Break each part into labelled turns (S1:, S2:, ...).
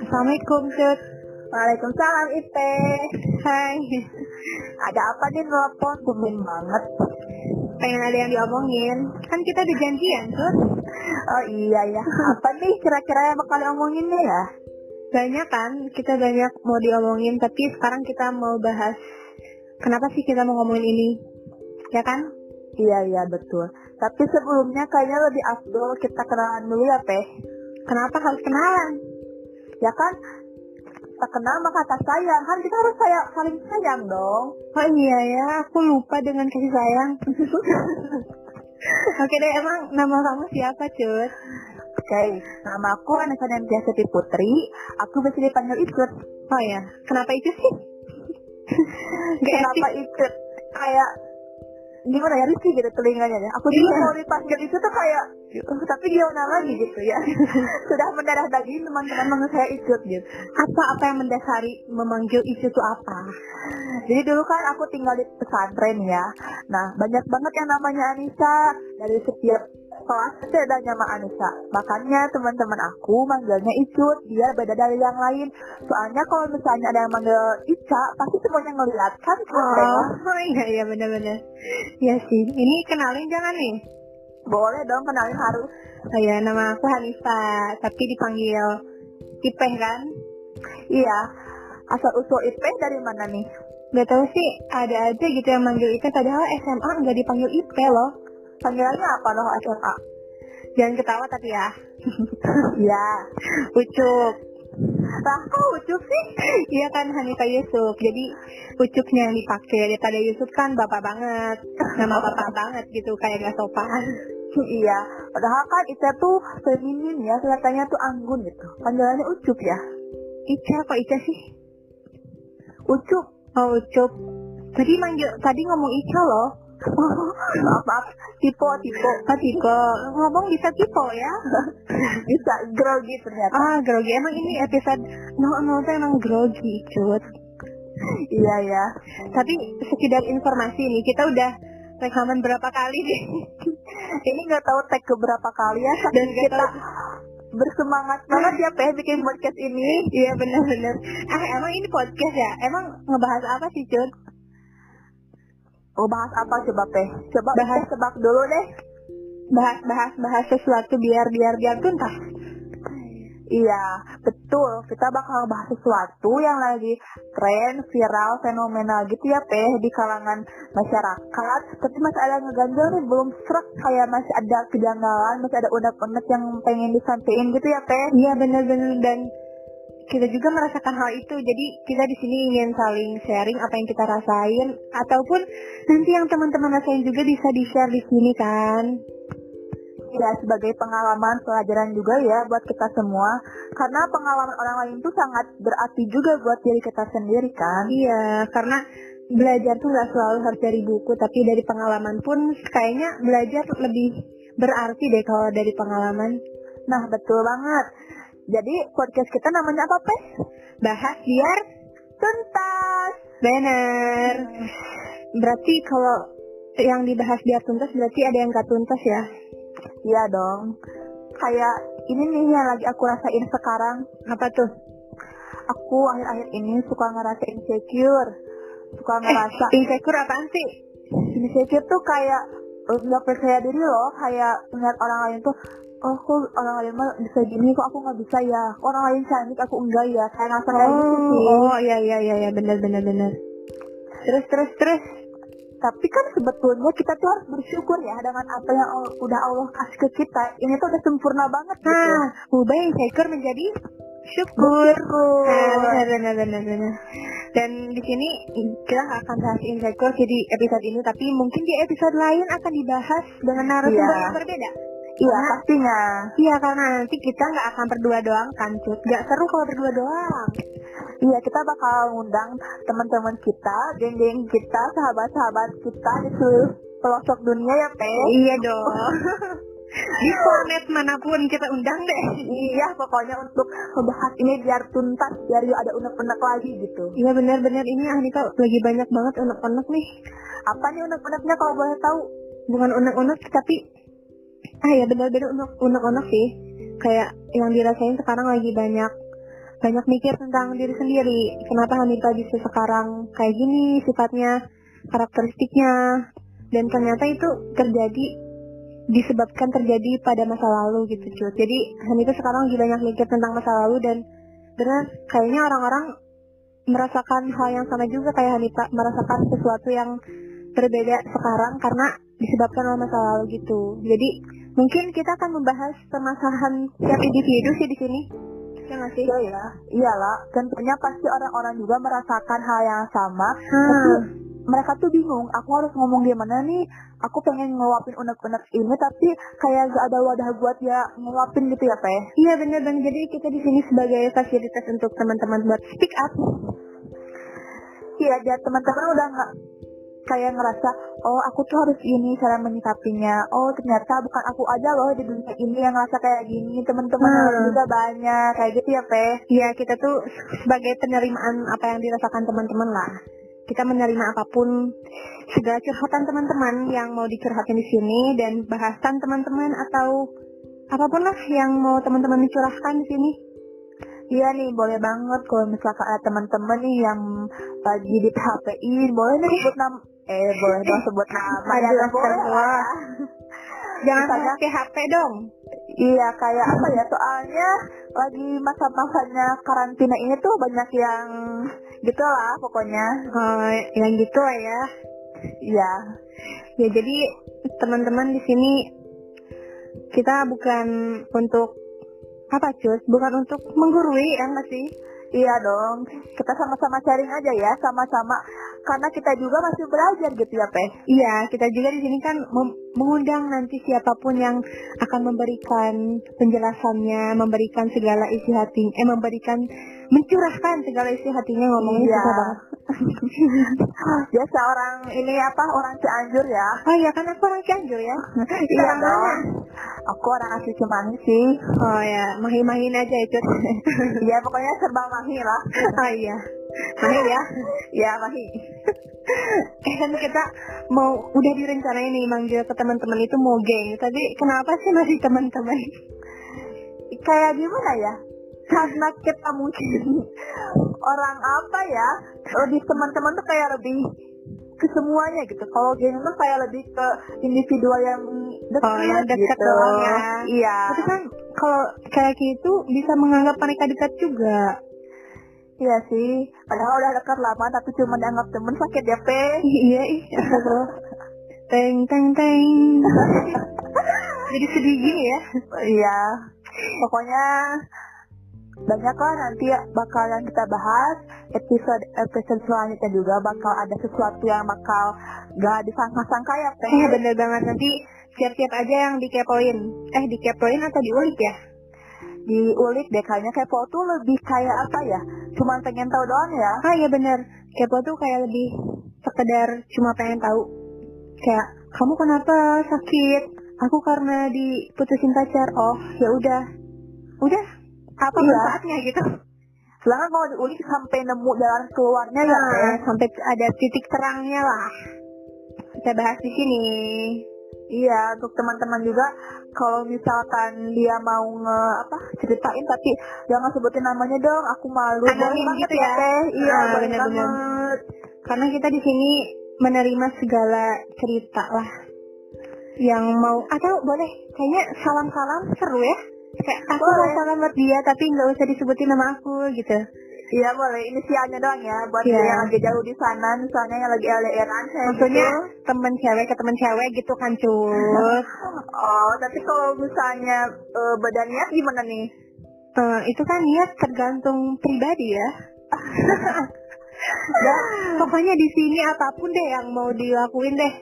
S1: Assalamualaikum, Cut.
S2: Waalaikumsalam Ipe.
S1: Hai.
S2: Ada apa di telepon? Tumben banget.
S1: Pengen ada yang diomongin. Kan kita udah janjian, Cut.
S2: Oh iya ya. Apa nih kira-kira yang bakal diomonginnya ya?
S1: Banyak kan, kita banyak mau diomongin, tapi sekarang kita mau bahas kenapa sih kita mau ngomongin ini. Ya kan?
S2: Iya iya betul. Tapi sebelumnya kayaknya lebih afdol kita kenalan dulu ya Pe.
S1: Kenapa harus kenalan?
S2: Ya kan? Kita kenal maka kata sayang kan kita harus sayang saling sayang dong.
S1: Oh iya ya, aku lupa dengan kasih sayang. Oke deh, emang nama kamu siapa, Cut?
S2: Oke, nama aku Anissa Nantia Siti Putri. Aku biasa dipanggil Icut.
S1: Oh ya, kenapa itu sih? Gak
S2: Kenapa
S1: etis.
S2: Icut? Kayak gimana ya Rizky gitu telinganya ya. Aku juga
S1: Iya.
S2: kalau dipanggil itu tuh kayak "Uh, tapi gimana lagi gitu ya. Sudah mendarah daging teman-teman manggil saya Icut gitu.
S1: Apa-apa yang mendasari memanggil itu tuh apa?
S2: Jadi dulu kan aku tinggal di pesantren ya. Nah, banyak banget yang namanya Anissa dari setiap kelas itu ada nama Anissa. Makanya teman-teman aku manggilnya Icut, dia beda dari yang lain. Soalnya kalau misalnya ada yang manggel Ica, pasti semuanya ngeliat kan.
S1: Oh,
S2: Tengok.
S1: iya iya benar-benar. Iya sih. Ini kenalin jangan nih.
S2: Boleh dong kenalin harus.
S1: Oh ya, nama aku Hanifa, tapi dipanggil Ipeh kan?
S2: Iya. Asal usul IP
S1: eh,
S2: dari mana nih?
S1: Gak tau sih, ada aja gitu yang manggil Ipeh, padahal SMA nggak dipanggil Ipeh loh.
S2: Panggilannya apa loh SMA?
S1: Jangan ketawa tapi ya.
S2: Iya.
S1: Ucup.
S2: Lah kok Ucup sih?
S1: Iya kan Hanifa Yusuf, jadi Ucupnya yang dipakai daripada Yusuf kan bapak banget, nama bapak banget gitu, kayak gak sopan.
S2: iya. Padahal kan Ica tuh feminin ya, kelihatannya tuh anggun gitu. Panggilannya Ucup ya.
S1: Ica, kok Ica sih?
S2: Ucup.
S1: Oh Ucup. Tadi manggil, tadi ngomong Ica loh.
S2: maaf, maaf. Tipo, tipo.
S1: Oh Tiko, ngomong bisa Tiko ya?
S2: Bisa grogi ternyata.
S1: Ah, grogi. Emang ini episode 00 tuh emang grogi, cut.
S2: Iya ya.
S1: Tapi sekedar informasi nih, kita udah rekaman berapa kali nih.
S2: Ini nggak tahu tag keberapa kali ya. Saking
S1: Dan kita,
S2: kita bersemangat banget ya Peh bikin podcast ini.
S1: Hmm. iya benar-benar. Ah, emang ini podcast ya? Emang ngebahas apa sih, cut?
S2: Oh bahas apa coba Peh? Coba
S1: Bahas-
S2: bahas tebak dulu deh.
S1: Bahas, bahas, bahas sesuatu biar, biar, biar tuntas.
S2: Iya, betul. Kita bakal bahas sesuatu yang lagi tren, viral, fenomenal gitu ya, Peh, di kalangan masyarakat. Tapi masih ada yang ngeganjel nih, belum serak kayak masih ada kejanggalan, masih ada unek-unek yang pengen disampaikan gitu ya, Peh.
S1: Iya benar-benar dan kita juga merasakan hal itu. Jadi kita di sini ingin saling sharing apa yang kita rasain ataupun nanti yang teman-teman rasain juga bisa di-share di sini kan.
S2: Ya, sebagai pengalaman pelajaran juga ya buat kita semua. Karena pengalaman orang lain itu sangat berarti juga buat diri kita sendiri kan.
S1: Iya, karena belajar tuh nggak selalu harus dari buku, tapi dari pengalaman pun kayaknya belajar lebih berarti deh kalau dari pengalaman.
S2: Nah, betul banget. Jadi, podcast kita namanya apa, Peh?
S1: Bahas biar
S2: Tuntas!
S1: benar. Berarti kalau yang dibahas biar tuntas berarti ada yang gak tuntas ya.
S2: Iya dong. Kayak ini nih yang lagi aku rasain sekarang.
S1: Apa tuh?
S2: Aku akhir-akhir ini suka ngerasa insecure. Suka ngerasa
S1: Eh, insecure apaan sih?
S2: insecure tuh kayak eh, nggak percaya diri loh. Kayak ngeliat orang lain tuh Oh, aku orang lain mah bisa gini kok aku nggak bisa ya. Orang lain cantik aku enggak ya. Kayak ngerasa kayak gitu sih.
S1: Oh, oh iya iya iya iya benar benar benar. Terus terus terus.
S2: Tapi kan sebetulnya kita tuh harus bersyukur ya dengan apa yang al- udah Allah kasih ke kita. Ini tuh udah sempurna banget gitu.
S1: Nah, ubah insecure menjadi syukur. Nah, benar benar benar benar. Dan di sini kita nggak akan bahas insecure jadi episode ini, tapi mungkin di episode lain akan dibahas dengan narasumber
S2: Iya.
S1: yang berbeda.
S2: Iya pastinya.
S1: Iya, karena nanti kita nggak akan berdua doang kan, Cut. Nggak seru kalau berdua doang.
S2: Iya, kita bakal ngundang teman-teman kita, geng-geng kita, sahabat-sahabat kita di seluruh pelosok dunia ya, Teh.
S1: Iya dong. di planet manapun kita undang deh.
S2: Iya, pokoknya untuk membahas ini biar tuntas, biar yuk ada unek-unek lagi gitu.
S1: Iya benar-benar ini Anita lagi banyak banget unek-unek nih.
S2: Apa nih unek-uneknya kalau boleh tahu?
S1: bukan unek-unek tapi ah ya benar-benar unek unek sih kayak yang dirasain sekarang lagi banyak banyak mikir tentang diri sendiri kenapa Hanifah bisa sekarang kayak gini sifatnya karakteristiknya dan ternyata itu terjadi disebabkan terjadi pada masa lalu gitu cuy jadi Hanifah sekarang lagi banyak mikir tentang masa lalu dan benar kayaknya orang-orang merasakan hal yang sama juga kayak Hanifah merasakan sesuatu yang berbeda sekarang karena disebabkan oleh masa lalu gitu. Jadi mungkin kita akan membahas permasalahan setiap individu sih di sini. Ya nggak sih?
S2: Iya ya, iyalah. Tentunya pasti orang-orang juga merasakan hal yang sama. Tapi
S1: Hmm.
S2: mereka tuh bingung, aku harus ngomong gimana nih? Aku pengen ngeluapin unek-unek ini, tapi kayak gak ada wadah buat ya ngeluapin gitu ya, Teh.
S1: Iya benar bang. Jadi kita di sini sebagai fasilitas untuk teman-teman buat speak up.
S2: Iya, aja teman-teman udah nggak kayak ngerasa, oh aku tuh harus ini cara menyikapinya. Oh ternyata bukan aku aja loh di dunia ini yang ngerasa kayak gini. Teman-teman
S1: Hmm.
S2: lain juga banyak kayak gitu ya, Teh.
S1: Iya kita tuh sebagai penerimaan apa yang dirasakan teman-teman lah. Kita menerima apapun segala curhatan teman-teman yang mau dicurhatin di sini dan bahasan teman-teman atau apapun lah yang mau teman-teman dicurahkan di sini.
S2: Iya nih, boleh banget kalau misalkan ada teman-teman nih yang lagi di PHP-in, boleh nih sebut nama. Eh, boleh dong sebut nama.
S1: Ada
S2: ya,
S1: yang
S2: boleh
S1: tertua.
S2: lah.
S1: kan Jangan
S2: Misalnya-
S1: pakai HP dong.
S2: Iya, kayak apa ya, soalnya lagi masa-masanya karantina ini tuh banyak yang gitu lah pokoknya.
S1: Oh, yang gitu lah ya.
S2: Iya,
S1: Ya jadi teman-teman di sini kita bukan untuk apa cus, bukan untuk menggurui ya nggak sih?
S2: iya dong. Kita sama-sama sharing aja ya, sama-sama. Karena kita juga masih belajar gitu ya, Peh.
S1: Iya, kita juga di sini kan mem- mengundang nanti siapapun yang akan memberikan penjelasannya, memberikan segala isi hatinya, eh memberikan mencurahkan segala isi hatinya ngomongnya
S2: Iya.
S1: susah banget.
S2: Biasa orang Ya, ini apa, orang Cianjur ya.
S1: Oh iya kan aku orang Cianjur ya.
S2: Iya
S1: Orang
S2: dong.
S1: mana?
S2: Aku orang asli Cimahi sih.
S1: Oh ya, mahi-mahin aja itu.
S2: Iya pokoknya serba Mahi lah.
S1: oh iya. Mahi ya.
S2: Iya Mahi.
S1: Kan kita mau udah direncanain nih manggil ke teman-teman itu mau geng, tapi kenapa sih masih teman-teman?
S2: Kayak gimana ya? Karena kita mungkin orang apa ya? Lebih teman-teman tuh kayak lebih ke semuanya gitu. Kalau geng tuh kayak lebih ke individual yang dekat
S1: Oh, yang dekat
S2: gitu.
S1: doang ya.
S2: Iya.
S1: Tapi kan kalau kayak gitu bisa menganggap mereka dekat juga.
S2: Iya sih. Padahal udah dekat lama tapi cuma dianggap temen sakit DP.
S1: Ih, iya ih. teng teng teng. Jadi sedih gini ya.
S2: Iya, pokoknya banyak lah nanti bakal yang kita bahas episode episode selanjutnya juga bakal ada sesuatu yang bakal gak disangka-sangka ya teh.
S1: Eh bener banget nanti siap-siap aja yang dikepoin. Eh dikepoin atau diulik ya?
S2: Diulik deh kayaknya kepo tuh lebih kayak apa ya? Cuman pengen tahu doang ya.
S1: Ah iya bener. Kepo tuh kayak lebih sekedar cuma pengen tahu. Kayak kamu kenapa sakit? Aku karena diputusin pacar. Oh ya udah. Udah. Apa
S2: Iya.
S1: manfaatnya gitu?
S2: Sedangkan kalau diulik sampai nemu jalan keluarnya ya.
S1: Nah,
S2: Teh.
S1: sampai ada titik terangnya lah. Kita bahas di sini.
S2: Iya, untuk teman-teman juga kalau misalkan dia mau nge apa ceritain tapi jangan sebutin namanya dong, aku malu.
S1: Anonim
S2: Boleh banget
S1: gitu ya?
S2: Teh. Iya,
S1: Ah,
S2: boleh
S1: benar-benar.
S2: banget.
S1: Karena kita di sini menerima segala cerita lah yang mau atau boleh kayaknya salam-salam seru ya. Kayak aku mau
S2: Boleh.
S1: salam buat dia tapi nggak usah disebutin nama aku gitu.
S2: Iya boleh, inisialnya doang ya buat
S1: Iya.
S2: yang lagi jauh di sana, misalnya yang lagi LDRan kayak
S1: Maksudnya
S2: gitu.
S1: temen cewek ke temen cewek gitu kan cuy.
S2: Oh, tapi kalau misalnya eh, badannya gimana nih?
S1: Eh, itu kan niat tergantung pribadi ya. Dan
S2: Ya.
S1: pokoknya di sini apapun deh yang mau dilakuin deh.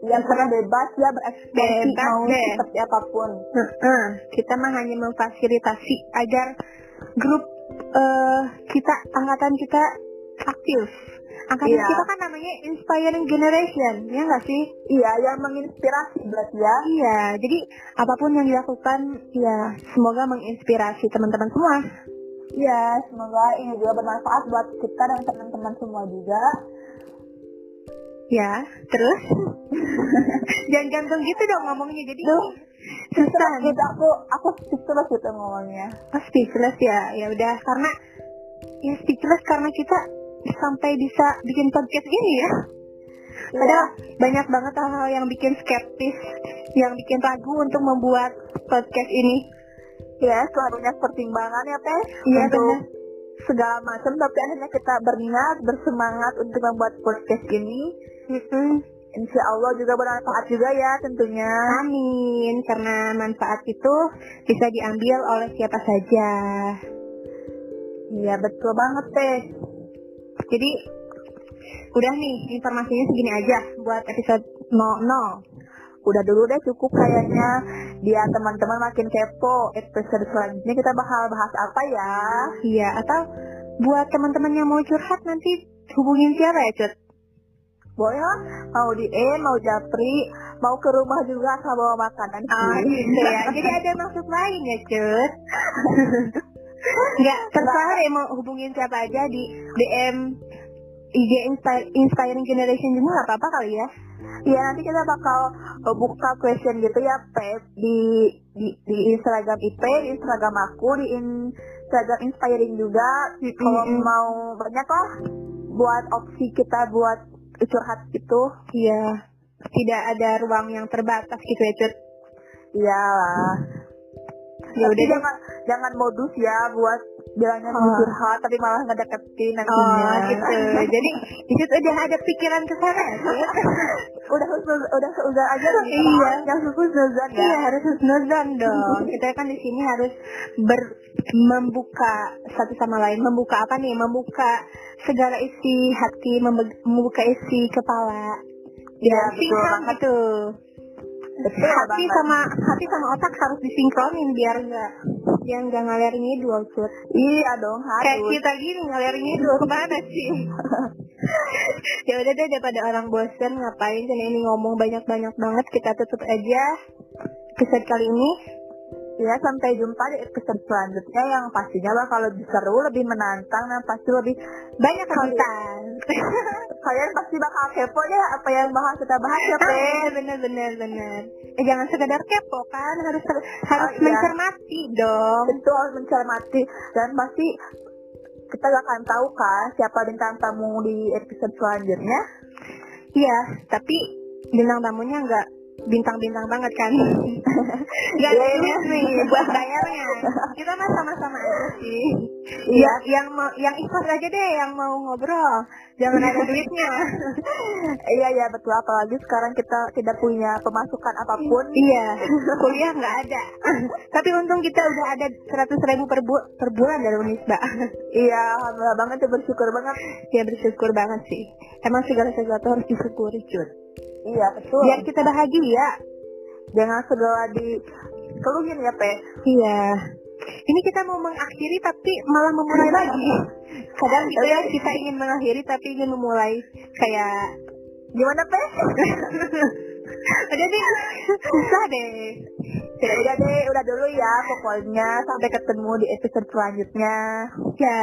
S2: Yang pernah bebas ya berekspresi
S1: Bebas
S2: mau
S1: deh.
S2: seperti apapun.
S1: Heeh, kita mah hanya memfasilitasi agar grup eh, kita angkatan kita aktif. Angkatan
S2: Iya.
S1: kita kan namanya Inspiring Generation, ya nggak sih?
S2: Iya, yang menginspirasi berarti ya.
S1: Iya, jadi apapun yang dilakukan, ya semoga menginspirasi teman-teman semua.
S2: Iya, semoga ini juga bermanfaat buat kita dan teman-teman semua juga.
S1: Ya, terus? Jangan gantung gitu dong ngomongnya, jadi
S2: Duh.
S1: susah.
S2: Terus gitu, aku aku terus gitu ngomongnya.
S1: Oh, speechless ya, ya udah karena ya speechless karena kita sampai bisa bikin podcast ini
S2: Iya.
S1: ya. Padahal banyak banget hal-hal yang bikin skeptis, yang bikin ragu untuk membuat podcast ini.
S2: Ya, setelah banyak pertimbangan ya teh
S1: Iya,
S2: untuk
S1: benar.
S2: segala macam, tapi akhirnya kita berniat bersemangat untuk membuat podcast ini. Insya Allah juga bermanfaat juga ya tentunya.
S1: Amin, karena manfaat itu bisa diambil oleh siapa saja.
S2: Iya betul banget teh.
S1: Jadi udah nih informasinya segini aja buat episode 00.
S2: Udah dulu deh cukup kayaknya. Biar teman-teman makin kepo. Episode selanjutnya kita bakal bahas apa ya?
S1: Iya, atau buat teman-teman yang mau curhat nanti hubungin siapa ya, Cut?
S2: Boleh lah. Mau di E, mau Japri, mau ke rumah juga asal bawa makanan.
S1: Ah,
S2: sih.
S1: gitu ya. Jadi ada maksud lain ya, Cut? Enggak, terserah deh mau hubungin siapa aja di DM IG Insta- Inspiring Generation juga nggak apa-apa kali ya.
S2: Iya nanti kita bakal uh, buka question gitu ya Pep di di, di Instagram IP, di Instagram aku, di in- Instagram Inspiring juga.
S1: Mm-mm.
S2: Kalau mau banyak lah buat opsi kita buat curhat gitu.
S1: Iya. Tidak ada ruang yang terbatas gitu ya, Cut.
S2: Iya lah.
S1: Ya
S2: Tapi
S1: udah deh.
S2: jangan jangan modus ya buat bilangnya mau
S1: Oh.
S2: curhat tapi malah ngedeketin nantinya.
S1: Oh gitu. Jadi itu udah ada pikiran ke sana ya, Cut?
S2: udah husnuz, udah seuzan aja nih.
S1: Iya.
S2: Jangan husnuzan ya.
S1: Iya harus husnuzon dong. Kita kan di sini harus ber- membuka satu sama lain. Membuka apa nih? Membuka segala isi hati, membe- membuka isi kepala.
S2: Iya,
S1: Dan
S2: betul
S1: sinkron
S2: banget.
S1: gitu.
S2: Betul
S1: Hati
S2: banget.
S1: sama hati sama otak harus disinkronin biar nggak biar nggak ngalir ngidul Cut.
S2: Iya dong harus.
S1: Kayak kita gini ngalir ngidul kemana sih? ya udah deh daripada orang bosen ngapain karena ini ngomong banyak-banyak banget kita tutup aja episode kali ini
S2: Ya, sampai jumpa di episode selanjutnya yang pastinya bakal lebih seru, lebih menantang, dan pasti lebih...
S1: banyak konten.
S2: Kalian pasti bakal kepo ya apa yang bakal kita bahas ya, Pe.
S1: bener bener bener bener. Eh, jangan sekedar kepo kan harus ter-
S2: Oh,
S1: harus
S2: iya.
S1: mencermati dong.
S2: Tentu harus mencermati dan pasti kita gak akan tahu kan siapa bintang tamu di episode selanjutnya.
S1: Iya, tapi bintang tamunya nggak bintang-bintang banget kan? Gak ada
S2: Iya, iya.
S1: duit nih buat bayarnya. Kita mah sama-sama aja sih.
S2: Iya.
S1: Ya, Yang, yang mau yang ikhlas aja deh yang mau ngobrol. Jangan ada duitnya.
S2: Iya, iya, betul. Apalagi sekarang kita tidak punya pemasukan apapun.
S1: iya, kuliah nggak ada. tapi untung kita udah ada 100.000 ribu per, bu- per bulan dari Unisba.
S2: Iya, alhamdulillah banget ya, bersyukur banget.
S1: Ya bersyukur banget sih. Emang segala sesuatu harus disyukuri, Cut.
S2: Iya, betul.
S1: Biar kita bahagia.
S2: Jangan segala dikeluhin ya, Pe.
S1: Iya. Ini kita mau mengakhiri tapi malah
S2: Iya.
S1: memulai lagi. Kadang gitu ya kita ingin mengakhiri tapi ingin memulai kayak
S2: Gimana, Pe?
S1: udah deh susah deh.
S2: Ya udah deh, udah dulu ya pokoknya. Sampai ketemu di episode selanjutnya.
S1: Ya.